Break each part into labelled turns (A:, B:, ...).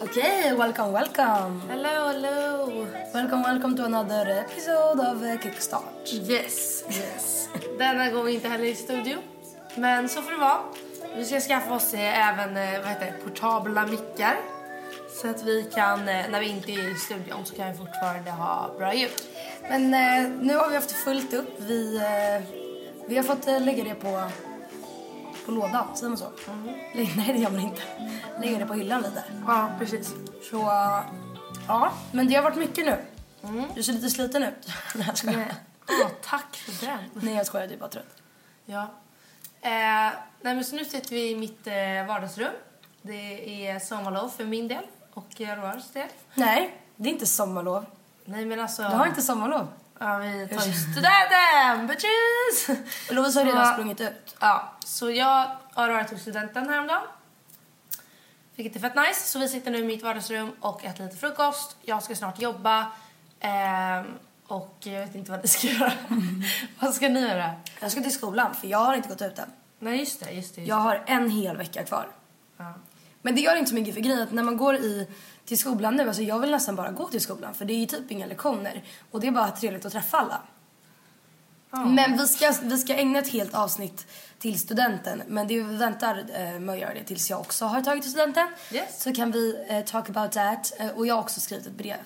A: Okej, welcome, welcome.
B: Hello, hello.
A: Welcome, welcome to another episode of eh, Kickstart.
B: Yes, yes. Denna gång inte heller i studio. Men så får det vara. Vi ska skaffa oss eh, även eh, vad heter, det, portabla mickar. Så att vi kan, eh, när vi inte är i studion, så kan vi fortfarande ha bra ljud.
A: Men eh, nu har vi haft fullt upp. Vi, eh, vi har fått eh, lägga det på, på lådan, säger man så?
B: Mm.
A: Lä- Nej, det gör man inte. Lägga det på hyllan lite.
B: Ja, precis.
A: Så ja, men det har varit mycket nu. Du ser lite sliten ut. Nej, jag skojar.
B: Eh, Åh, Mm. tack för den.
A: Nej, jag skojar. Du är bara trött.
B: Ja. Eh, nej, men så nu sitter vi i mitt eh, vardagsrum. Det är sommarlov för min del och eh, Roars del.
A: Nej, det är inte sommarlov.
B: Nej, men alltså...
A: Du har inte sommarlov.
B: Ja, vi tar ju studenten, bitches!
A: Lovis har
B: Så-
A: redan sprungit ut.
B: Ja, så jag har varit tog studenten häromdagen. Vilket är fett nice. Så vi sitter nu i mitt vardagsrum och äter lite frukost. Jag ska snart jobba. Ehm, och jag vet inte vad ni ska göra. vad ska ni göra?
A: Jag ska till skolan, för jag har inte gått ut än.
B: Nej, just det. Just det, just
A: Jag
B: det.
A: har en hel vecka kvar.
B: Ja.
A: Men det gör inte så mycket för grejen är att när man går i, till skolan nu, alltså jag vill nästan bara gå till skolan för det är ju typ inga lektioner och det är bara trevligt att träffa alla. Men vi ska, vi ska ägna ett helt avsnitt till studenten men det vi väntar eh, med att göra det tills jag också har tagit studenten.
B: Yes.
A: Så kan vi eh, talk about that eh, och jag har också skrivit ett brev.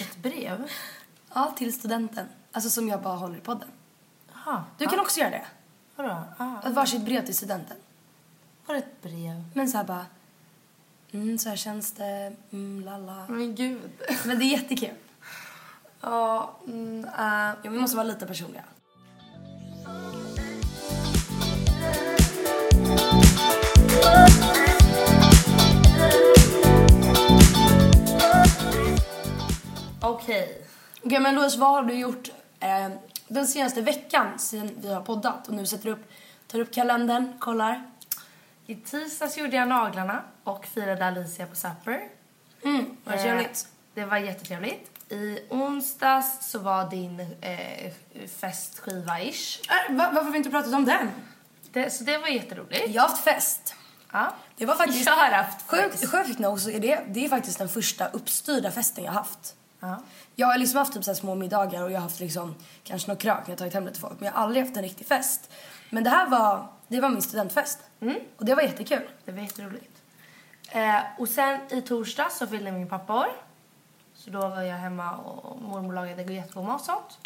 B: Ett brev?
A: Ja, till studenten. Alltså som jag bara håller i podden.
B: Jaha.
A: Du kan också göra det.
B: Vadå? Ah,
A: Att Varsitt brev till studenten.
B: var det ett brev?
A: Men så här bara, mm så här känns det, mm lalla.
B: Men gud.
A: Men det är jättekul.
B: Ja, mm, eh,
A: Ja, vi måste vara lite personliga.
B: okej.
A: Okej, men Louise, vad har du gjort eh, den senaste veckan sen vi har poddat och nu sätter upp, tar upp kalendern, kollar?
B: I tisdags gjorde jag naglarna och firade Alicia på Supper.
A: Mm, vad
B: Eh,
A: trevligt.
B: Det var jättetrevligt. I onsdags så var din eh, festskiva-ish.
A: Äh, va, varför har vi inte pratat om den?
B: Det, så det var jätteroligt.
A: Jag har haft fest.
B: Ja.
A: Det var faktiskt...
B: Jag har haft
A: Sjukt, sjukt nog så är det, det är faktiskt den första uppstyrda festen jag har haft.
B: Ja.
A: Jag har liksom haft typ så här små middagar och jag har haft liksom kanske någon krök när jag tagit hem det till folk. Men jag har aldrig haft en riktig fest. Men det här var, det var min studentfest.
B: Mm.
A: Och det var jättekul.
B: Det var jätteroligt. Eh, och sen i torsdags så fyllde min pappa år. Så då var jag hemma och mormor lagade jättegod mat och sånt.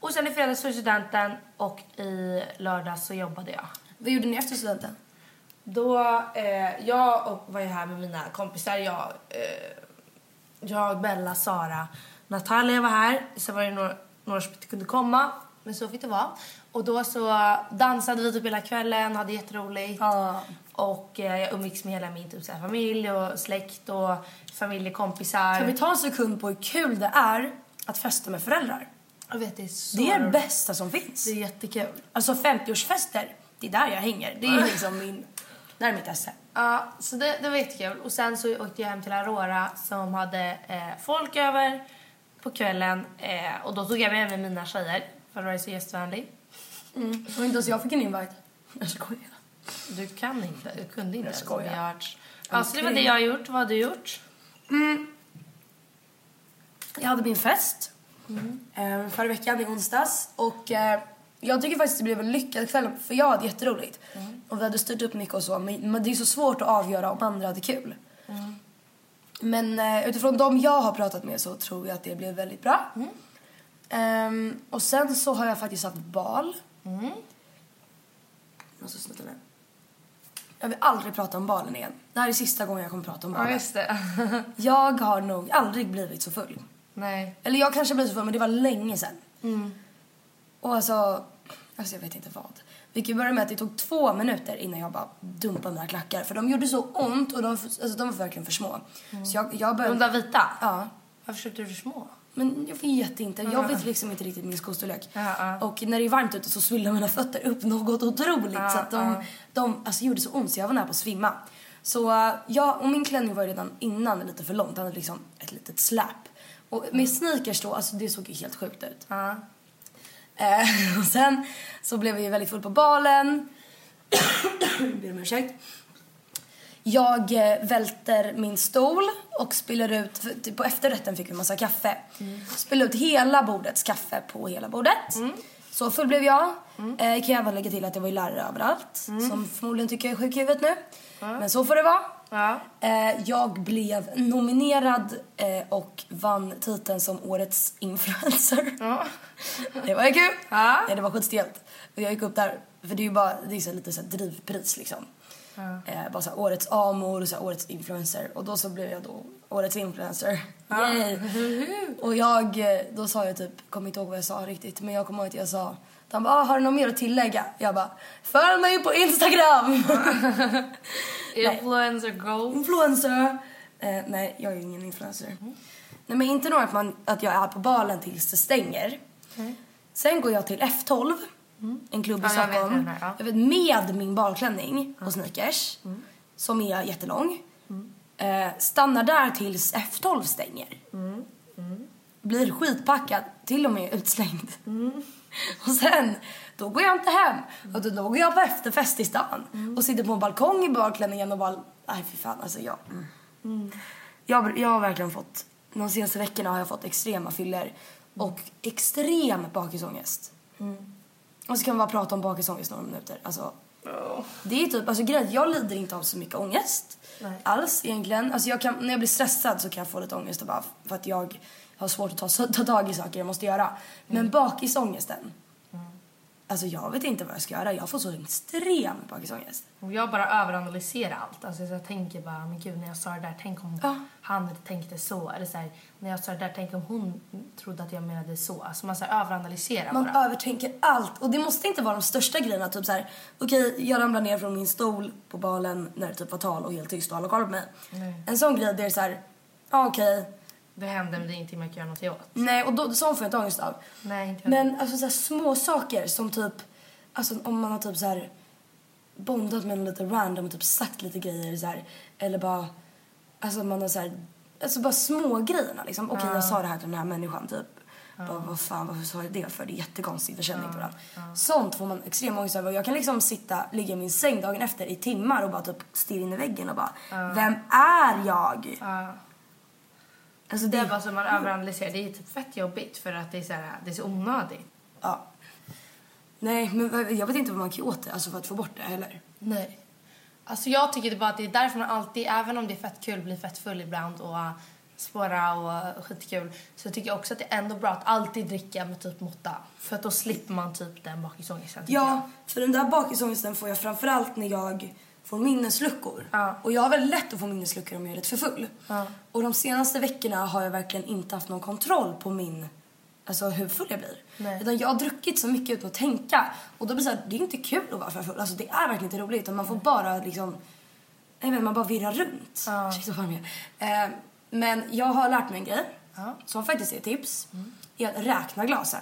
B: Och sen i fredags för studenten och i lördags så jobbade jag.
A: Vad gjorde ni efter studenten?
B: Då, eh, jag och var ju här med mina kompisar. Jag, eh, jag Bella, Sara Natalia var här, sen var det några, några som inte kunde komma. Men så fick det vara. Och då så dansade vi typ hela kvällen, hade jätteroligt.
A: Ja.
B: Och eh, jag umgicks med hela min typ, så här, familj och släkt och familjekompisar.
A: Kan vi ta en sekund på hur kul det är att festa med föräldrar?
B: Jag vet, det är så
A: Det är det
B: roligt.
A: bästa som finns.
B: Det är jättekul.
A: Alltså 50-årsfester, det är där jag hänger. Det är liksom min... Där är mitt esse.
B: Ja, så det, det var jättekul. Och sen så åkte jag hem till Aurora som hade eh, folk över på kvällen. Eh, och då tog jag med mig mina tjejer för att vara så gästvänlig.
A: Och inte ens jag fick en invite. Jag skojar.
B: Du kan inte, du kunde inte.
A: Jag skojar.
B: Jag har varit- Ja, så det var det jag har gjort. Vad har du gjort?
A: Jag hade min fest eh, förra veckan, i onsdags. Och eh, jag tycker faktiskt det blev en lyckad kväll, för jag hade jätteroligt. Och vi hade styrt upp mycket och så, men men det är så svårt att avgöra om andra hade kul. Men eh, utifrån de jag har pratat med så tror jag att det blev väldigt bra. Ehm, och sen så har jag faktiskt haft bal. Jag måste snutta den. Jag vill aldrig prata om balen igen. Det här är sista gången jag kommer prata om balen.
B: det.
A: Jag har nog aldrig blivit så full.
B: Nej.
A: Eller jag kanske blev så full, men det var länge sedan.
B: Mm.
A: Och alltså, alltså jag vet inte vad. Vilket började med att det tog två minuter innan jag bara dumpade mina klackar. För de gjorde så ont och de, alltså, de var verkligen för små. Så jag, jag började...
B: Mm. De där vita?
A: Ja.
B: Varför köpte du för små?
A: Men jag vet inte. Jag vet liksom inte riktigt min skostorlek.
B: Ja, ja.
A: Och när det är varmt ute så svillar mina fötter upp något otroligt. så att de, de alltså, gjorde så ont så jag var nära på att svimma. Så eh, jag och min klänning var ju redan innan lite för lång. Den hade liksom ett litet släp. Och med sneakers då, alltså det såg ju helt sjukt ut.
B: Ja.
A: Eh, och sen så blev vi ju väldigt full på balen. Ber om ursäkt. Jag eh, välter min stol och spiller ut, för typ på efterrätten fick vi massa kaffe. Spiller ut hela bordets kaffe på hela bordet. Så full blev jag. Eh, kan jag även lägga till att det var ju lärare överallt. Som förmodligen tycker jag är sjuk i huvudet nu. Men så får det vara.
B: Ja.
A: Eh, jag blev nominerad eh, och vann titeln som årets influencer. det var ju kul.
B: Ja.
A: det var skitstelt. Och jag gick upp där, för det är ju bara, det är så här lite så här drivpris liksom. Eh, bara så här, årets amor och så här, årets influencer. Och då så blev jag då årets influencer. Yay. och jag, eh, då sa jag typ, kommer inte ihåg vad jag sa riktigt, men jag kommer ihåg att jag sa han bara, ah, har du något mer att tillägga? Jag bara, följ mig på Instagram!
B: Influencer goals.
A: influencer. Eh, nej, jag är ju ingen influencer. Nej, men inte nog att, man, att jag är på balen tills det stänger. Sen går jag till F12, en klubb i
B: Ja, jag vet
A: Stockholm.
B: den här, ja. Mm.
A: Jag vet, med min balklänning och sneakers, som är jättelång. Eh, stannar där tills F12 stänger.
B: Mm.
A: Blir skitpackad, till och med utslängd.
B: Mm.
A: Och sen, då går jag inte hem. Och då, då går jag på efterfest i stan.
B: Mm.
A: Och sitter på en balkong i balklänningen och bara... Nej, fy fan. Alltså, jag... Mm. Jag, jag har verkligen fått... De senaste veckorna har jag fått extrema fyller och extrem bakisångest. Och så kan man bara prata om bakisångest några minuter. Alltså, det är typ, alltså grejen, jag lider inte av så mycket ångest. Alls egentligen. Alltså jag kan, när jag blir stressad så kan jag få lite ångest och bara för att jag har svårt att ta, ta tag i saker jag måste göra. Men bakisångesten. Alltså jag vet inte vad jag ska göra. Jag får så extrem bakisångest.
B: Och jag bara överanalyserar allt. Alltså så jag tänker bara, men gud när jag sa det där, tänk om
A: Ja.
B: han tänkte så. Eller så här, när jag sa det där, tänk om hon trodde att jag menade så. Alltså man så här, överanalyserar
A: Man
B: bara.
A: övertänker allt. Och det måste inte vara de största grejerna. Typ så här, okej, jag ramlar ner från min stol på balen när det typ var tal och helt tyst och alla kollar på mig. En sån grej där det är så här, ja okej.
B: Det hände men det är ingenting man kan göra någonting åt.
A: Nej, och då, sån får jag inte ångest av.
B: Nej, inte jag.
A: Men alltså så här, små saker som typ, alltså om man har typ så här bondat med någon lite random och typ sagt lite grejer så här, eller bara, alltså man har så här, alltså bara små grejerna liksom. Okej, jag sa det här till den här människan typ. Bara, vad fan, varför sa jag det för? Det är jättekonstigt, jag känner inte varandra. Sånt får man extrem ångest över. Och Jag kan liksom sitta, ligga i min säng dagen efter i timmar och bara typ stirra in i väggen och bara, vem är jag? Alltså
B: Det är bara så man överanalyserar. Det är typ fett jobbigt för att det är så, här, det är så onödigt.
A: Ja. Nej, men jag vet inte vad man kan göra åt det, alltså för att få bort det heller.
B: Nej. Alltså jag tycker det bara att det är därför man alltid, även om det är fett kul, blir fett full ibland och uh, spåra och uh, skitkul. Så tycker jag också att det är ändå bra att alltid dricka med typ måtta. För att då slipper man typ den bakisångesten. tycker
A: Ja, för den där bakisångesten får jag framförallt när jag får minnesluckor.
B: Ja.
A: Och jag har väldigt lätt att få minnesluckor om jag är lite för full.
B: Ja.
A: Och de senaste veckorna har jag verkligen inte haft någon kontroll på min, alltså hur full jag blir.
B: Nej.
A: Utan jag har druckit så mycket utan att tänka. Och då blir det så här, det är inte kul att vara för full. Alltså det är verkligen inte roligt. Utan man får bara liksom, jag vet, man bara virrar runt.
B: Ja.
A: Shit, vad fan jag är. eh, Men jag har lärt mig en grej.
B: Ja. Mm.
A: Som faktiskt är ett tips. Är att räkna glasen.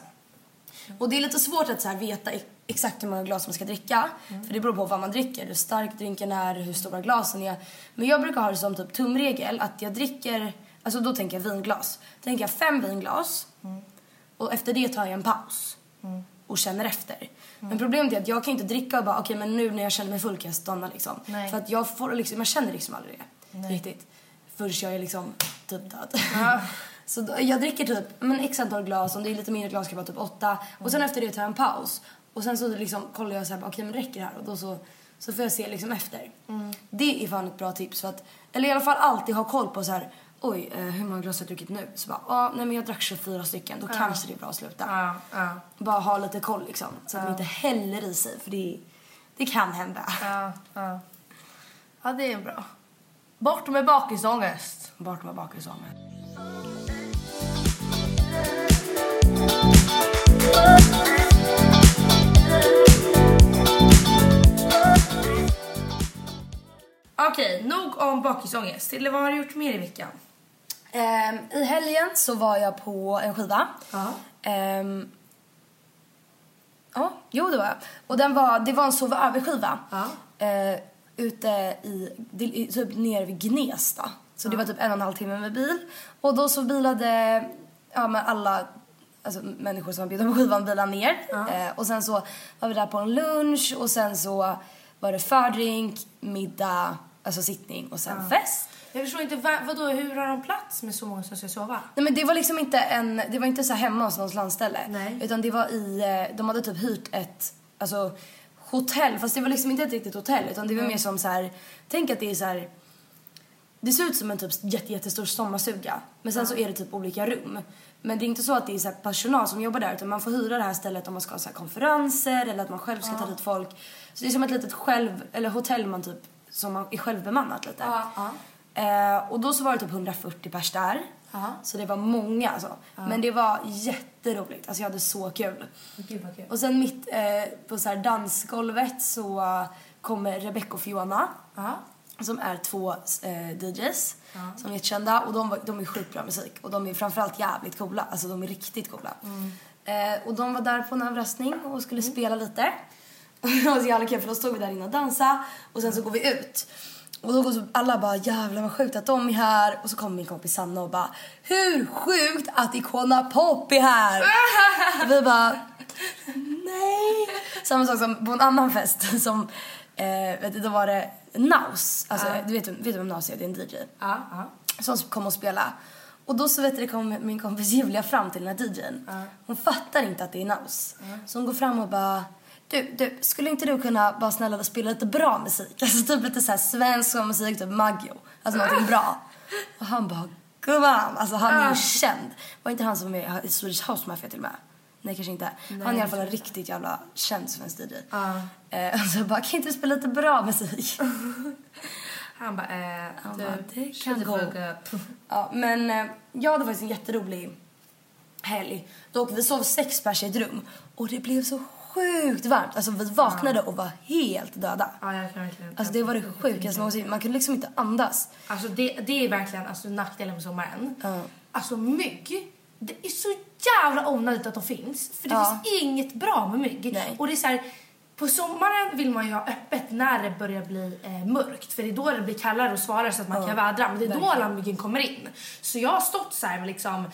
A: Och det är lite svårt att så här veta e- exakt hur många glas man ska dricka. För det beror på vad man dricker, hur stark drinken är, hur stora glasen är. Men jag brukar ha det som typ tumregel att jag dricker, alltså då tänker jag vinglas. Tänker jag fem vinglas och efter det tar jag en paus. Och känner efter. Men problemet är att jag kan inte dricka och bara okej men nu när jag känner mig full kan jag stanna liksom.
B: Nej.
A: För att jag får liksom, jag känner liksom aldrig det. Riktigt. Förrän jag är liksom typ död.
B: Ja.
A: Så då, jag dricker typ men x antal glas, om det är lite mindre glas kan det vara typ åtta. Och
B: Mm.
A: sen efter det tar jag en paus. Och sen så liksom kollar jag så här, bara, okej men räcker det här? Och då så, så får jag se liksom efter.
B: Mm.
A: Det är fan ett bra tips för att, eller i alla fall alltid ha koll på så här, oj eh, hur många glas har jag druckit nu? Så bara, ah, nej men jag drack 24 stycken, då kanske det är bra att sluta.
B: Ja, ja.
A: Bara ha lite koll liksom, så att man inte häller i sig för det, det kan hända.
B: Ja, ja. ja, det är bra. Bort med bakisångest.
A: Bort med bakisången.
B: Okej, nog om bakisångest. Eller vad har du gjort mer i veckan?
A: Ehm, I helgen så var jag på en skiva.
B: Ja.
A: Ehm, ja, jo det var jag. Och den var, det var en sova över-skiva.
B: Ja.
A: Ehm, ute i, det- i- typ nere vid Gnesta. Så det var typ en och en halv timme med bil. Och då så bilade ja, men alla alltså, människor som var bjudna på skivan bilade ner. Ehm, och sen så var vi där på en lunch och sen så var det fördrink, middag, alltså sittning och sen fest.
B: Jag förstår inte, va, vadå, hur har de plats med så många som ska sova?
A: Nej men det var liksom inte en, det var inte så här hemma hos någons landställe.
B: Nej.
A: Utan det var i, eh, de hade typ hyrt ett, alltså hotell. Fast det var liksom inte ett riktigt hotell utan det var mer som så här, tänk att det är så här. Det ser ut som en typ jätte, jättestor sommarstuga. Men sen så är det typ olika rum. Men det är inte så att det är så här personal som jobbar där utan man får hyra det här stället om man ska ha så här konferenser eller att man själv ska ta dit folk. Så det är som ett litet själv, eller hotell man typ, som man är självbemannat lite.
B: Ja, ja.
A: Eh, och då så var det typ 140 pers där.
B: Ja.
A: Så det var många alltså. Men det var jätteroligt. Alltså jag hade så kul.
B: Gud vad kul.
A: Och sen mitt eh, på så här dansgolvet så eh, kommer Rebecca och Fiona.
B: Ja.
A: Som är två eh, DJs som är kända och de, var- de är skitbra musik och de är framförallt jävligt coola, alltså de är riktigt coola. Eh, och de var där på en överraskning och skulle spela lite. Och det var så jävla kul för då stod vi där inne och dansade och sen så går vi ut. Och då går så alla bara jävlar vad sjukt att de är här och så kommer min kompis Sanna och bara hur sjukt att Icona Pop är här! och vi bara Nej! Samma sak som på en annan fest som, eh, vet du, då var det Naus. Alltså, du vet, vet du vem Naus är? Det är en DJ.
B: Ja, ja.
A: Som kom och spela. Och då så vet du, det kom min kompis Julia fram till den här DJn. Hon fattar inte att det är Naus. Så hon går fram och bara du, du, skulle inte du kunna bara snälla spela lite bra musik? Alltså typ lite såhär svensk musik, typ Maggio. Alltså någonting bra. Och han bara, gumman, alltså han är ju känd. Var inte han som är i Swedish House Mafia till och med? Nej kanske inte. han är i alla fall en riktigt jävla känd svensk DJ. Eh, och så jag bara, kan inte du spela lite bra musik?
B: Han bara, eh,
A: Han
B: du,
A: bara, det
B: shut
A: kan
B: the
A: gå.
B: fuck up.
A: Ja, men eh, jag hade faktiskt en jätterolig helg. Dock, vi sov sex pers i ett rum och det blev så sjukt varmt. Alltså vi vaknade och var helt döda.
B: Ja, jag kan verkligen.
A: Alltså det var det sjukaste någonsin. Man kunde liksom inte andas.
B: Alltså det, det är verkligen alltså, nackdelen med sommaren.
A: Ja.
B: Alltså mygg, det är så jävla onödigt att de finns. För det
A: Ja.
B: finns inget bra med mygg.
A: Nej.
B: Och det är så här, på sommaren vill man ju ha öppet när det börjar bli eh, mörkt. För det är då det blir kallare och svalare så att man kan vädra. Men det är då alla myggen kommer in. Så jag har stått så här med liksom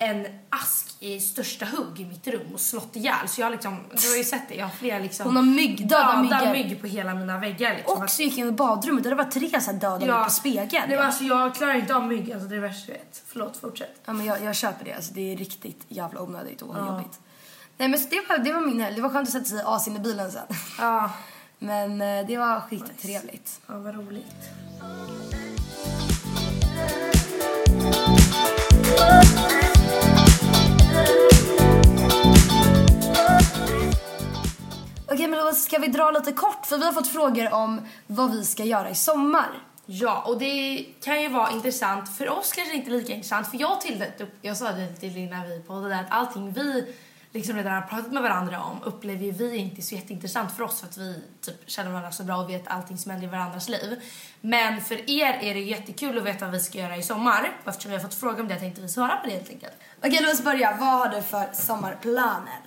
B: en ask i största hugg i mitt rum och slått ihjäl. Så jag har liksom, du har ju sett det, jag har flera liksom
A: Hon har mygg, döda myggar.
B: mygg på hela mina väggar. Liksom.
A: Och så gick jag in i badrummet och det var tre så här döda mygg på spegeln.
B: Nej, men alltså, jag klarar inte av mygg, alltså, det är det värsta jag vet. Förlåt, fortsätt.
A: Ja men jag, jag köper det. Alltså det är riktigt jävla onödigt och jobbigt. Nej men så det var, det var min helg. Det var skönt att sätta sig i asin i bilen sen.
B: Ja.
A: Men eh, det var skittrevligt.
B: Ja, vad roligt.
A: Okej men då ska vi vi dra lite kort för vi har fått frågor om vad vi ska göra i sommar.
B: Ja, och det kan ju vara intressant. För oss kanske inte lika intressant. För jag, till, jag sa det till Lina vi poddade att allting vi liksom redan har pratat med varandra om upplever ju vi inte är så jätteintressant för oss för att vi typ känner varandra så bra och vet allting som händer i varandras liv. Men för er är det jättekul att veta vad vi ska göra i sommar. Och Eftersom vi har fått fråga om det tänkte vi svara på det helt enkelt.
A: Okej, låt oss börja. Vad har du för sommarplaner?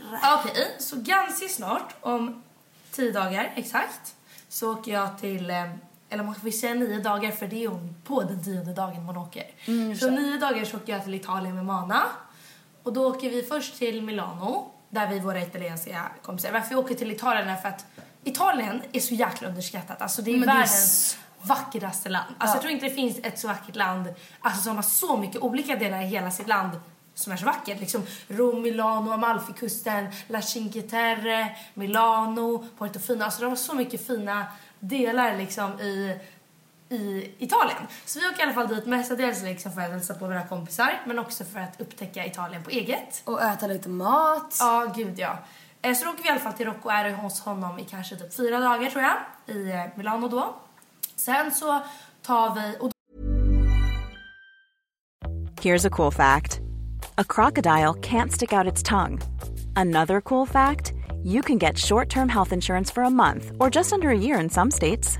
B: Okej, så ganska snart, om tio dagar exakt, så åker jag till, eh, eller man får säga nio dagar för det är om- på den tionde dagen man åker. så om nio dagar så åker jag till Italien med Mana. Och då åker vi först till Milano, där vi är våra italienska kompisar. Varför vi åker till Italien är för att Italien är så jäkla underskattat. Alltså det är
A: Men det är
B: världens vackraste land. Alltså jag tror inte det finns ett så vackert land, alltså som har så mycket olika delar i hela sitt land som är så vackert. Liksom Rom, Milano, Amalfikusten, La Cinque Terre, Milano, Portofino. Alltså de har så mycket fina delar liksom i i Italien. Så vi åker i alla fall dit mestadels liksom för att hälsa på våra kompisar men också för att upptäcka Italien på eget.
A: Och äta lite mat.
B: Ja, gud ja. Eh, Så då åker vi i alla fall till Rocco och är hos honom i kanske typ fyra dagar tror jag, i eh, Milano då. Sen så tar vi, och
C: Here's a cool fact a crocodile can't stick out its tongue. Another cool fact you can get short term health insurance for a month or just under a year in some states.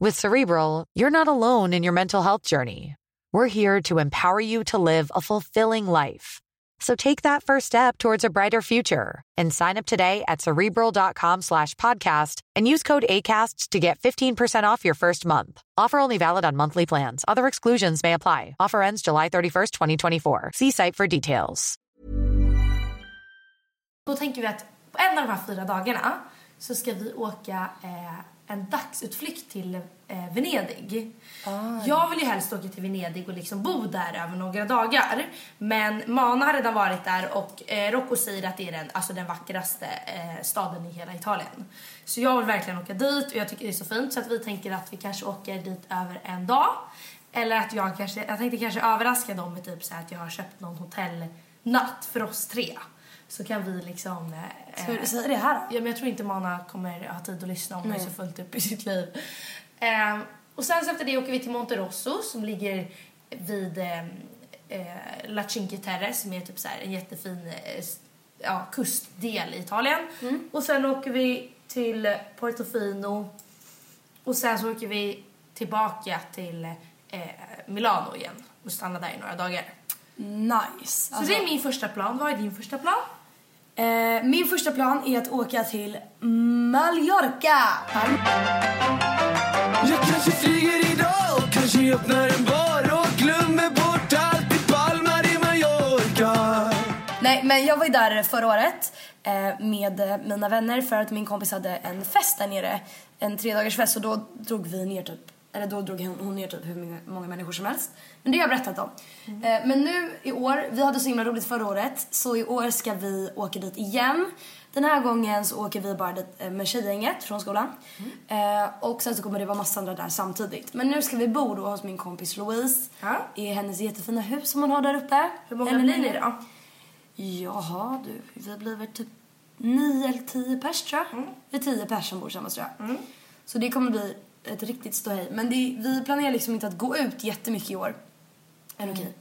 D: With Cerebral, you're not alone in your mental health journey. We're here to empower you to live a fulfilling life. So take that first step towards a brighter future and sign up today at cerebral.com slash podcast and use code ACAST to get 15% off your first month. Offer only valid on monthly plans. Other exclusions may apply. Offer ends July 31st, 2024. See site for details.
B: Då tänker vi att på en av de här fyra dagarna så ska vi åka eh, en dagsutflykt till eh, Venedig. Jag vill ju helst åka till Venedig och liksom bo där över några dagar. Men Mana har redan varit där och eh, Rocco säger att det är den, alltså den vackraste eh, staden i hela Italien. Så jag vill verkligen åka dit och jag tycker det är så fint så att vi tänker att vi kanske åker dit över en dag. Eller att jag kanske, jag tänkte kanske överraska dem med typ så här att jag har köpt någon hotellnatt för oss tre. Så kan vi liksom... eh,
A: Ska du säga det här då?
B: Ja, men jag tror inte Mana kommer ha tid att lyssna om hon är så fullt upp i sitt liv. Ehm, och sen så efter det åker vi till Monterosso som ligger vid ehm, eh, La Cinque Terre som är typ så här en jättefin eh, s- ja, kustdel i Italien.
A: Mm.
B: Och sen åker vi till Portofino och sen så åker vi tillbaka till eh, Milano igen och stannar där i några dagar.
A: Nice.
B: Så
A: Alltså,
B: det är min första plan. Vad är din första plan?
A: eh, min första plan är att åka till Mallorca.
E: Jag kanske flyger idag, kanske öppnar en bar och glömmer bort allt i Palma de Mallorca.
A: Nej, men jag var ju där förra året eh, med eh, mina vänner för att min kompis hade en fest där nere. En tredagarsfest och då drog vi ner typ eller då drog hon, hon ner typ hur många- många människor som helst. Men det har jag berättat om.
B: Mm.
A: Eh, men nu i år, vi hade så himla roligt förra året så i år ska vi åka dit igen. Den här gången så åker vi bara dit eh, med tjejgänget från skolan.
B: Mm.
A: Eh, och sen så kommer det vara massa andra där samtidigt. Men nu ska vi bo då hos min kompis Louise.
B: Ja.
A: I hennes jättefina hus som hon har där uppe.
B: Hur många
A: Eller
B: blir ni
A: nio.
B: då?
A: Jaha du, vi blir väl typ nio eller tio pers tror jag.
B: Mm.
A: Vi är tio pers som bor tillsammans tror jag. Så det kommer bli ett riktigt ståhej. Men det, vi planerar liksom inte att gå ut jättemycket i år.
B: Mm.
A: Eller okej,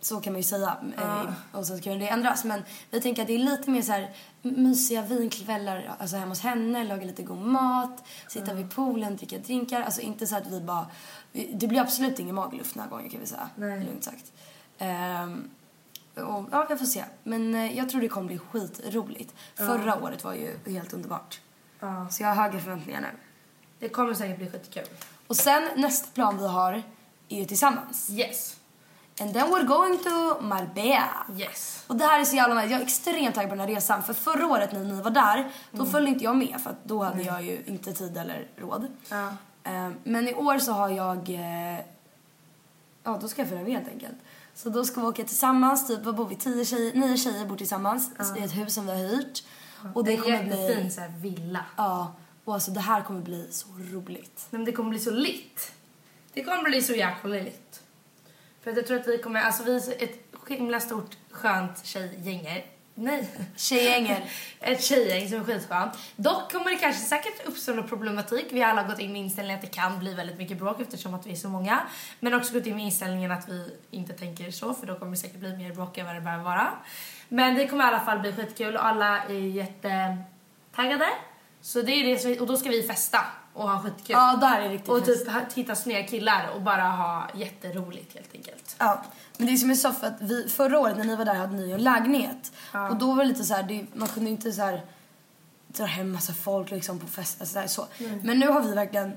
A: så kan man ju säga. Eh, Och så kan det ändras. Men vi tänker att det är lite mer så här mysiga vinkvällar alltså hemma hos henne, laga lite god mat,
B: Mm.
A: sitta vid poolen, dricka drinkar. Alltså inte så att vi bara... vi- Det blir absolut ingen magluft den här gången kan vi säga.
B: Nej.
A: Lugnt sagt. Ehm, och, ja, jag får se. Men eh, jag tror det kommer bli skitroligt. Förra året var ju helt underbart.
B: Ja.
A: Så jag har höga förväntningar nu.
B: Det kommer säkert bli skitkul.
A: Och sen nästa plan vi har är ju tillsammans.
B: Yes.
A: And then we're going to Marbella.
B: Yes.
A: Och det här är så jävla nice. Jag är extremt taggad på den här resan. För förra året när ni var där, då följde inte jag med för att då hade jag ju inte tid eller råd.
B: Ja.
A: Eh, Men i år så har jag... eh, Ja, då ska jag följa med helt enkelt. Så då ska vi åka tillsammans. Typ, vad bor vi? Tio tjejer, nio tjejer bor tillsammans i ett hus som vi har hyrt. Och det
B: en
A: kommer bli...
B: jättefin så här, villa.
A: Ja. Och alltså det här kommer bli så roligt.
B: Nej, men det kommer bli så litt. Det kommer bli så jäkla litt. För att jag tror att vi kommer, alltså vi är ett himla stort skönt tjejgäng. Nej.
A: Tjejgängen.
B: ett tjejgäng som är skitskönt. Dock kommer det kanske säkert uppstå någon problematik. Vi har alla gått in med inställningen att det kan bli väldigt mycket bråk eftersom att vi är så många. Men också gått in med inställningen att vi inte tänker så för då kommer det säkert bli mer bråk än vad det behöver vara. Men det kommer i alla fall bli skitkul och alla är jättetaggade. Så det är det som, och då ska vi festa och ha skitkul.
A: Ja, där är riktigt
B: Och
A: fest.
B: typ ha- hitta snygga killar och bara ha jätteroligt helt enkelt.
A: Ja, men det är som är så för att vi, förra året när ni var där hade ni ju en lägenhet. Och då var det lite så här, det, man kunde inte så här dra hem massa folk liksom på fest alltså så, här, så.
B: Mm.
A: Men nu har vi verkligen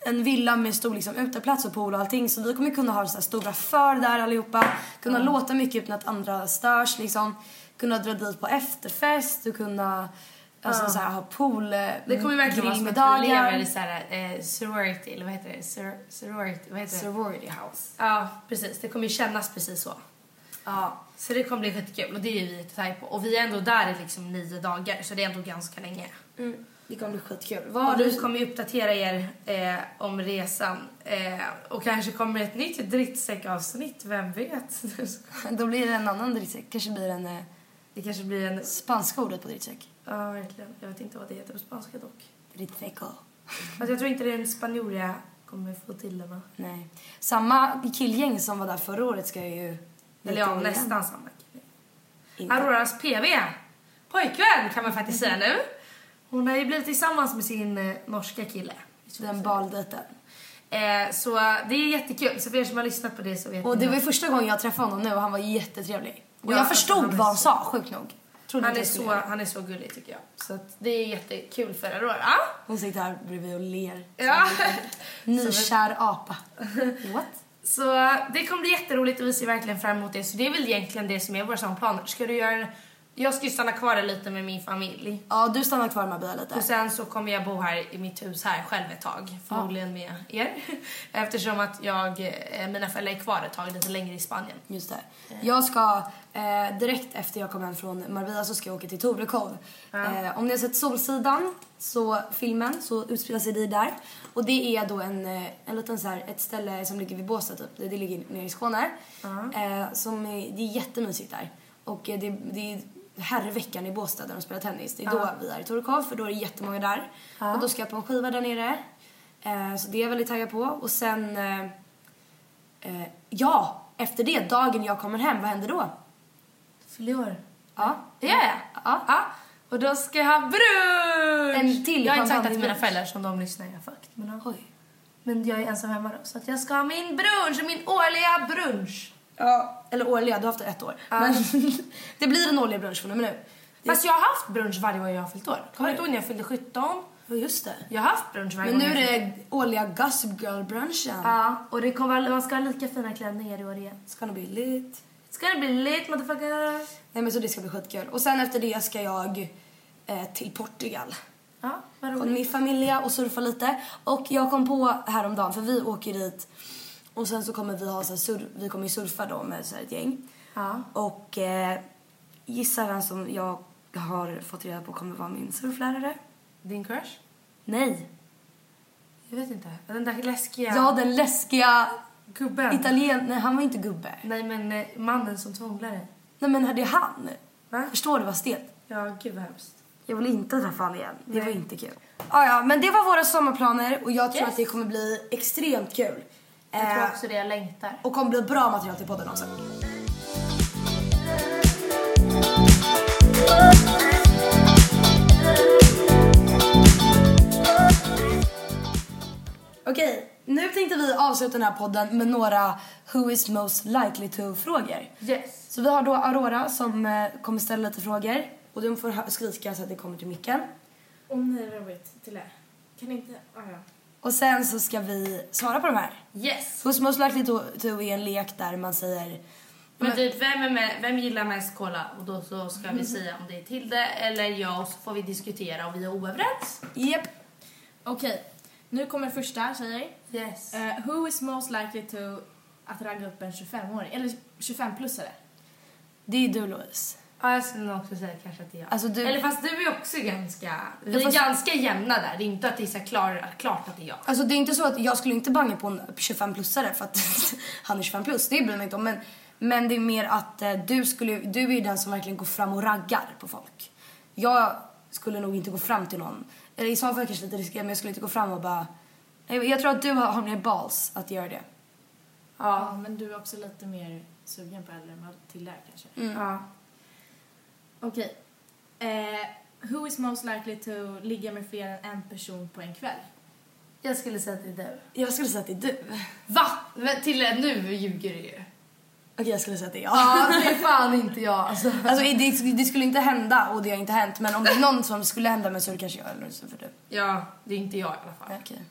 A: en villa med stor liksom, uteplats och pool och allting så vi kommer kunna ha så här stora för där allihopa. Kunna
B: Mm.
A: låta mycket utan att andra störs liksom. Kunna dra dit på efterfest och kunna alltså, så här, ha pool,
B: Det
A: Mm.
B: kommer verkligen vara som att vi lever i
A: grillmiddagar.
B: så här, eh, sorority, eller vad heter det? Sor- sorority, vad heter det?
A: Sorority house.
B: Ja, precis. Det kommer ju kännas precis så.
A: Ja.
B: Så det kommer bli skitkul och det är vi jättetaggade på. Och vi är ändå där i liksom nio dagar så det är ändå ganska länge.
A: Det kommer bli skitkul. Vad har
B: Och vi
A: du
B: kommer ju uppdatera er eh, om resan eh, och kanske kommer ett nytt drittsäckavsnitt, vem vet?
A: Då blir det en annan drittsäck. Kanske blir det en eh,
B: det kanske blir en...
A: spanska ordet på drittsäck.
B: Ja, verkligen. Jag vet inte vad det heter på spanska dock.
A: Drittsäcko.
B: Fast jag tror inte det är en spanjor jag kommer få till den. va?
A: Nej. Samma killgäng som var där förra året ska ju...
B: Eller ja,
A: Inte-
B: nästan samma kille.
A: Inte.
B: Auroras PV, pojkvän kan man faktiskt säga nu. Hon har ju blivit tillsammans med sin eh, norska kille.
A: Den baldejten.
B: Eh, så eh, det är jättekul, så för er som har lyssnat på det så vet
A: Och
B: ni
A: det var ju
B: att
A: första gången jag träffade honom nu och han var jättetrevlig. Och
B: Ja,
A: jag
B: alltså,
A: förstod
B: han är
A: vad han
B: så-
A: sa, sjukt nog. Trodde
B: han,
A: inte
B: är
A: jag skulle
B: så,
A: göra det.
B: han är så gullig tycker jag. Så att det är jättekul för Aurora.
A: Hon sitter här bredvid och ler.
B: Ja.
A: Nykär apa. What?
B: Så eh, det kommer bli jätteroligt och vi ser verkligen fram emot det. Så det är väl egentligen det som är våra sommarplaner. Ska du göra en... Jag ska ju stanna kvar där lite med min familj.
A: Ja, du stannar kvar i Marbella lite.
B: Och sen så kommer jag bo här i mitt hus här själv ett tag. Förmodligen med er. Eftersom att jag, eh, mina föräldrar är kvar ett tag lite längre i Spanien.
A: Just det. Jag ska, eh, direkt efter jag kommer hem från Marbella så ska jag åka till Torekov. Eh, om ni har sett Solsidan, så filmen, så utspelar sig det där. Och det är då en, eh, en liten så här, ett ställe som ligger vid Båstad typ, det, det ligger nere i Skåne. Eh, som är, det är jättemysigt där. Och eh, det, det är herrveckan i Båstad där de spelar tennis. Det är då vi är i Torekov för då är det jättemånga där. Och då ska jag på en skiva där nere. Eh, så det är jag väldigt taggad på. Och sen eh, Eh, ja, efter det, dagen jag kommer hem, vad händer då?
B: Fyller år.
A: Ja.
B: Det gör jag.
A: Ja.
B: Ja. Och då ska jag ha brunch!
A: En till
B: jag har inte sagt
A: champagne
B: att mina
A: brunch.
B: föräldrar som de lyssnar jag fucked. Men, ja.
A: Oj.
B: men jag är ensam hemma då. Så att jag ska ha min brunch, min årliga brunch.
A: Ja. Eller årliga, du har haft det ett år. Men det blir en årlig brunch från och med nu.
B: Fast jag har haft brunch varje år jag har fyllt år. Kommer du inte ihåg när jag fyllde 17?
A: Ja, just det.
B: Jag har haft brunch varje
A: Men nu
B: gång jag
A: är
B: fyllt
A: det årliga Gossip Girl-brunchen.
B: Ja, och det kommer, man ska ha lika fina klänningar i år igen.
A: Ska nog bli lite...
B: Ska det bli late motherfucker?
A: Nej men så det ska bli skitkul. Och sen efter det ska jag eh, till Portugal.
B: Ja, vad
A: Kom
B: roligt.
A: med min familj och surfa lite. Och jag kom på häromdagen, för vi åker dit och sen så kommer vi ha så här, sur- vi kommer ju surfa då med så här ett gäng.
B: Ja.
A: Och eh, gissa vem som jag har fått reda på kommer vara min surflärare?
B: Din crush?
A: Nej.
B: Jag vet inte. Den där läskiga
A: Ja, den läskiga
B: gubben.
A: italien... Nej, han var inte gubbe.
B: Nej men eh, mannen som tvånglar dig.
A: Nej, men det är han.
B: Va?
A: Förstår du vad stelt?
B: Ja, gud vad hemskt.
A: Jag vill inte träffa honom igen. Det
B: Nej.
A: var inte kul. Ah, ja, men det var våra sommarplaner och jag tror
B: Yes.
A: att det kommer bli extremt kul.
B: Jag tror
A: Eh,
B: också det, jag längtar.
A: och kommer bli bra material till podden också. Okej, nu tänkte vi avsluta den här podden med några Who is most likely to-frågor.
B: Yes.
A: Så vi har då Aurora som eh, kommer ställa lite frågor. Och de får hö- skrika så att det kommer till micken.
F: Åh nej, vad roligt. Till det. Kan inte... Ah, ja.
A: Och sen så ska vi svara på de här.
B: Yes.
A: Who's most likely to, to är en lek där man säger...
B: Men Mhm. typ, vem, är med, vem gillar mest cola? Och då så ska vi säga om det är Tilde eller jag och så får vi diskutera om vi är oöverens.
A: Japp.
F: Okej, nu kommer första tjejer.
B: Yes.
F: Eh, who is most likely to att ragga upp en 25-åring? Eller 25-plussare?
A: Det är du Louise.
B: Ja, jag skulle nog också säga kanske att det är jag.
A: Alltså, du-
B: Eller fast du är också ganska... Vi är
A: fast-
B: ganska jämna där. Det är inte att det är så här klar, klart att det är jag.
A: Alltså det är inte så att jag skulle inte banga på en 25-plussare för att han är 25 plus. Det bryr jag mig inte om. Men, men det är mer att eh, du, skulle, du är ju den som verkligen går fram och raggar på folk. Jag skulle nog inte gå fram till någon. Eller i så fall kanske lite riskera men jag skulle inte gå fram och bara... Jag, jag tror att du har, har mer balls att göra det.
F: Ja. Men du är också lite mer sugen på äldre än vad till är kanske.
B: Ja.
F: Okej. Eh, who is most likely to ligga med fler än en person på en kväll?
B: Jag skulle säga att det är du.
A: Jag skulle säga att det är du. Okej,
B: Va? Men Tilde, nu ljuger du ju.
A: jag skulle säga att det är jag.
B: Ja, det är fan inte jag alltså.
A: Alltså det, det skulle inte hända och det har inte hänt men om det är någon som skulle hända mig så är det kanske jag eller så för du.
B: Ja, det är inte jag i alla fall.
A: Okej.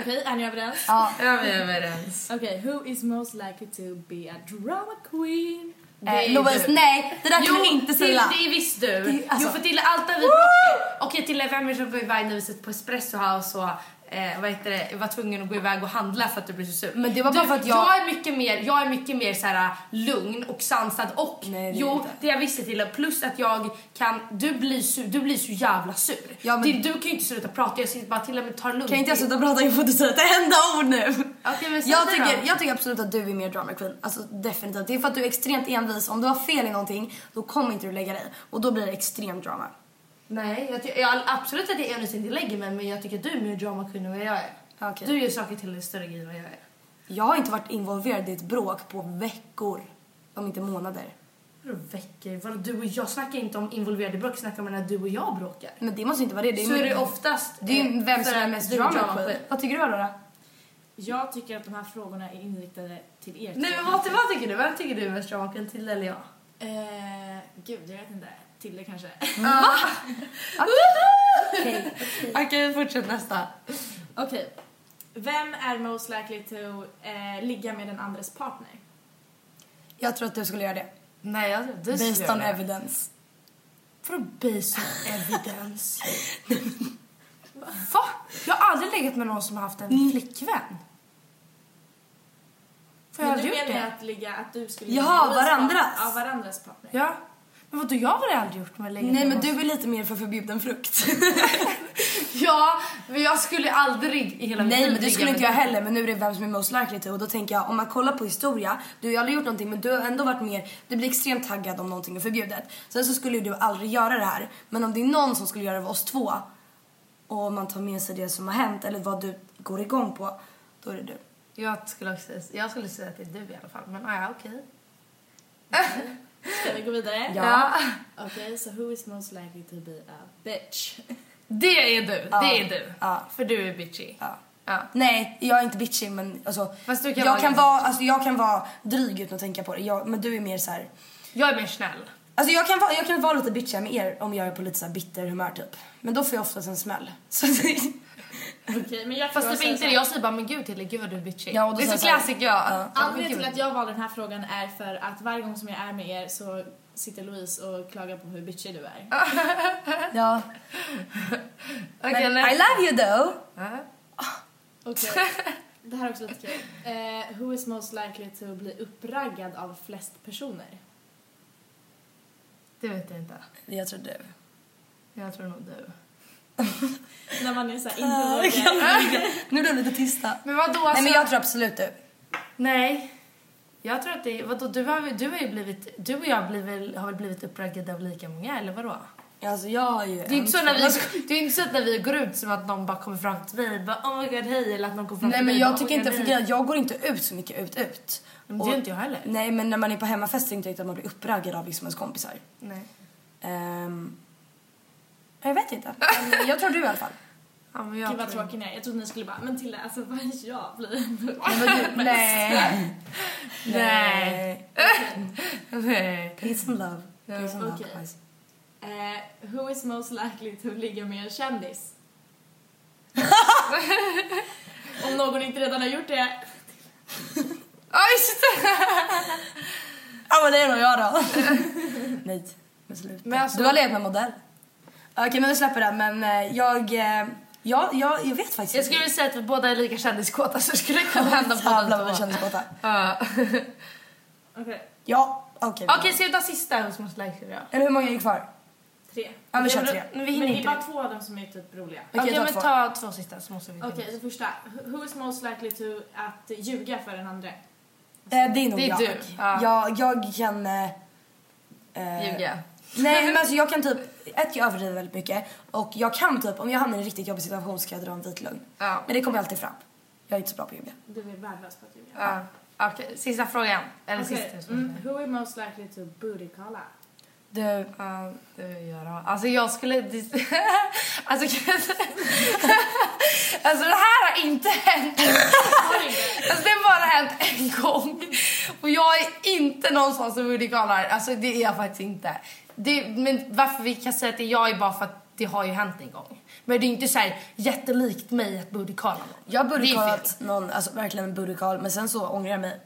F: Okej, är ni överens?
A: Ja.
B: Ja, vi är överens.
F: Okej, who is most likely to be a drama queen?
B: är
A: Eh,
B: ju
A: Louise,
B: du.
A: nej det där kan
B: Jo,
A: du inte
B: till-
A: säga.
B: det är visst du.
A: Det- alltså-
B: Jo, för till allt har vi bråkat. Okej, till vem är det som går iväg när vi sitter på Espresso House och eh, vad heter det, var tvungen att gå iväg och handla för att du blev så sur?
A: Men det var bara
B: du,
A: för att jag-
B: är mycket mer, jag är mycket mer så här äh, lugn och sansad och
A: Nej, det är
B: jo,
A: inte.
B: det jag visste till plus att jag kan, du blir, sur, du blir så jävla sur.
A: Ja, men-
B: Till- du kan ju inte sluta prata, jag sitter bara till och med tar lugnt.
A: Kan inte jag sluta prata? Jag får inte säga ett enda ord nu.
B: Okej, men säg
A: jag,
B: det
A: tycker,
B: då.
A: jag tycker absolut att du är mer drama queen. Alltså definitivt. Det är för att du är extremt envis. Om du har fel i någonting då kommer inte du lägga dig. Och då blir det extremt drama.
B: Nej, jag, ty- jag absolut att jag enligt inte lägger mig men jag tycker att du är mer drama queen än vad jag är.
A: Okej.
B: Du gör saker till en större grej än vad jag är.
A: Jag har inte varit involverad i ett bråk på veckor. Om inte månader.
B: Vadå veckor? Vadå du och jag snackar inte om involverade bråk, jag snackar om när du och jag bråkar.
A: Men det måste inte vara det. det
B: Så är det
A: ju-
B: oftast...
A: Det är ju
B: eh,
A: vem
B: för
A: som är
B: att
A: mest
B: du
A: drama queen. Vad tycker du Aurora?
F: Jag tycker att de här frågorna är inriktade till er
B: Nej men vad, vad tycker du? Vem tycker du är mest drama queen? Tilde eller jag?
F: Eh, gud, jag vet inte. Till det kanske.
A: Mm. Okej.
B: Okej, fortsätt nästa.
F: Okej. Vem är most likely to eh, ligga med den andres partner?
A: Jag tror att du skulle göra det.
B: Nej, jag tror du
A: Based on evidence.
B: Vadå based on evidence? Va? Jag har aldrig legat med någon som har haft
A: Mm.
B: en flickvän. Får
F: Men
B: jag
F: du
B: aldrig gjort
F: menar
B: det?
F: att, ligga, att du skulle
A: Jaha,
F: ligga med Louise
A: varandras.
F: partner. Ja, varandras partner.
B: Ja. Men vadå, jag har aldrig gjort med längre.
A: Nej men du är lite mer för förbjuden frukt.
B: Ja, men jag skulle aldrig i hela mitt
A: Nej
B: liv
A: men det
B: ligga
A: skulle
B: med
A: inte jag
B: dig.
A: heller men nu är det vem som är most likely to och då tänker jag om man kollar på historia, du har ju aldrig gjort någonting men du har ändå varit mer, du blir extremt taggad om någonting är förbjudet. Sen så skulle ju du aldrig göra det här men om det är någon som skulle göra det av oss två och man tar med sig det som har hänt eller vad du går igång på, då är det du.
B: Jag skulle, också, jag skulle säga att det är du i alla fall, men ah, ja, okej.
F: Ska vi gå vidare?
B: Ja.
F: Okej, so who is most likely to be a bitch?
B: Det är du, det är du.
A: Ja.
B: För du är bitchy.
A: Ja.
B: Ja.
A: Nej, jag är inte bitchy men alltså,
B: Fast du kan
A: jag,
B: vara
A: kan
B: ganska-
A: vara, alltså jag kan vara dryg utan att tänka på det jag, men du är mer så här.
B: Jag är mer snäll.
A: Alltså jag kan, vara, jag kan vara lite bitchig med er om jag är på lite så här bitter humör typ. Men då får jag oftast en smäll. Så det-
F: Okej, men jag
B: Fast det
F: säger
B: är inte
F: så
B: det.
F: här.
B: Jag säger bara, men gud Tilly, gud vad du är bitchy.
A: Ja, och då
B: det är
A: säger
B: så
A: jag så här,
B: classic jag.
A: ja.
B: Ja, men
F: Anledningen
B: gud.
F: till att jag valde den här frågan är för att varje gång som jag är med er så sitter Louise och klagar på hur bitchig du är.
A: Ja.
B: Okej,
A: Men,
B: nej.
A: I love you though.
B: Ja.
F: Okej. Det här är också lite kul. Eh, who is most likely to bli uppraggad av flest personer?
B: Det vet jag inte.
A: Jag tror du.
B: Jag tror nog du.
F: När man är såhär
A: Jag
F: inte
A: kan inte. Nu blev de lite tysta.
B: Men vadå?
A: Nej
B: Alltså,
A: men jag tror absolut du.
B: Nej. Jag tror att det vadå, du har, ju- du har ju blivit, du och jag har, blivit, har väl blivit uppraggade av lika många eller vadå?
A: Alltså jag har ju...
B: Det är ju inte så när
F: Alltså-
B: vi, det är ju inte så att när vi går ut som att någon bara kommer fram till mig och bara oh my god hej eller att någon kommer fram
A: Nej
B: till mig
A: men
B: och
A: jag
B: bara,
A: tycker
B: "Oh my
A: inte,
B: God,
A: för
B: hej."
A: grejen, jag går inte ut så mycket ut ut.
B: Men det gör inte jag heller.
A: Nej men när man är på hemmafester inte riktigt att man blir uppraggad av liksom ens kompisar.
B: Nej.
A: Ehm, jag vet inte. Men jag tror du i alla fall.
B: Ja, men jag
F: Gud vad
B: tror-
F: tråkig ni är. Jag trodde ni skulle bara, men Tilda alltså vad är jag blir
A: Men vad du, nej.
B: Nej. Nej.
A: Peace and love. Peace and love
F: Okej.
A: guys.
F: eh, Who is most likely to ligga med en kändis? Om någon inte redan har gjort det.
B: Oj, shit.
A: Ja men det är nog jag då. nej. Men sluta.
B: Men alltså-
A: Du har levt med modell. Okej men vi släpper det men eh, jag, eh, jag, jag, jag vet faktiskt
B: Jag skulle säga att vi båda är lika kändiskåta så det skulle kunna hända
F: typ
B: på
A: Jävlar vad vi kändiskåta.
F: Okej.
A: Ja, okej.
B: Okej, ska vi ta sista hos Most Likely då?
A: Eller hur många är kvar? Eh,
F: Tre.
A: Ja vi kör
B: Men-
A: tre.
B: Men vi
F: Men
B: hinner
F: det är
B: inte.
F: bara två av dem som är typ roliga.
A: Okej,
B: Okej,
A: ta
B: men
A: två.
B: ta två sista så måste vi hinna.
F: Okej, så första. Who- Who is most likely to att ljuga för den andra?
A: Eh, det är nog
B: Det är
A: jag.
B: du. Ja.
A: jag. Jag kan... Eh, eh,
B: Ljuga.
A: Nej men alltså jag kan typ, ett jag överdriver väldigt mycket och jag kan typ om jag hamnar i en riktigt jobbig situation så kan jag dra en vit lögn.
B: Ja.
A: Men det kommer alltid fram. Jag är inte så bra på att ljuga.
F: Du är värdelös på att ljuga.
B: Ja. Ah, Okej, sista frågan. Eller
F: Okej,
B: sista. som
F: mm,
B: heter.
F: who is most likely to booty call out?
A: Du,
B: Ja, det vill jag göra. Alltså jag skulle... alltså, kan... alltså det här har inte hänt. alltså det har bara hänt en gång. Och jag är inte någon sån som Woody Gallar. Alltså det är jag faktiskt inte. Det, men varför vi kan säga att det är jag är bara för att det har ju hänt en gång. Men det är inte så här jättelikt mig att Woody Gallar någon.
A: jag borde
B: Det är
A: ha
B: fel.
A: någon, alltså verkligen en booty call men sen så ångrar jag mig.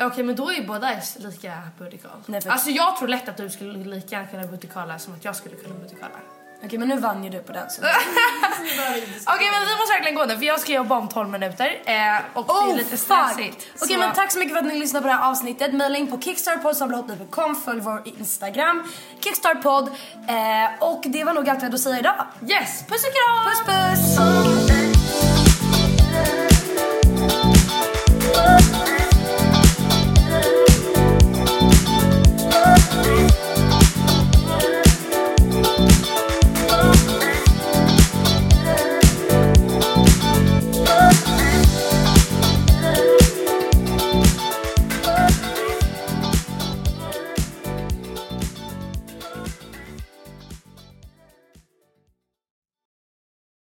B: Okej men då är ju båda lika Woody Gallar.
A: Nej, för-
B: Alltså jag tror lätt att du skulle lika gärna kunna Woody Gallar som att jag skulle kunna Woody Gallar.
A: Okej men nu vann ju du på den så.
B: Okej men vi måste verkligen gå nu för jag ska jobba om 12 minuter eh, och det är lite
A: Oh, fuck.
B: stressigt.
A: Okej men tack så mycket för att ni lyssnade på det här avsnittet. Maila in på kickstarpod.com, följ vår Instagram, kickstarpod. Eh, och det var nog allt vi hade att säga idag.
B: Yes, puss och kram!
A: Puss puss!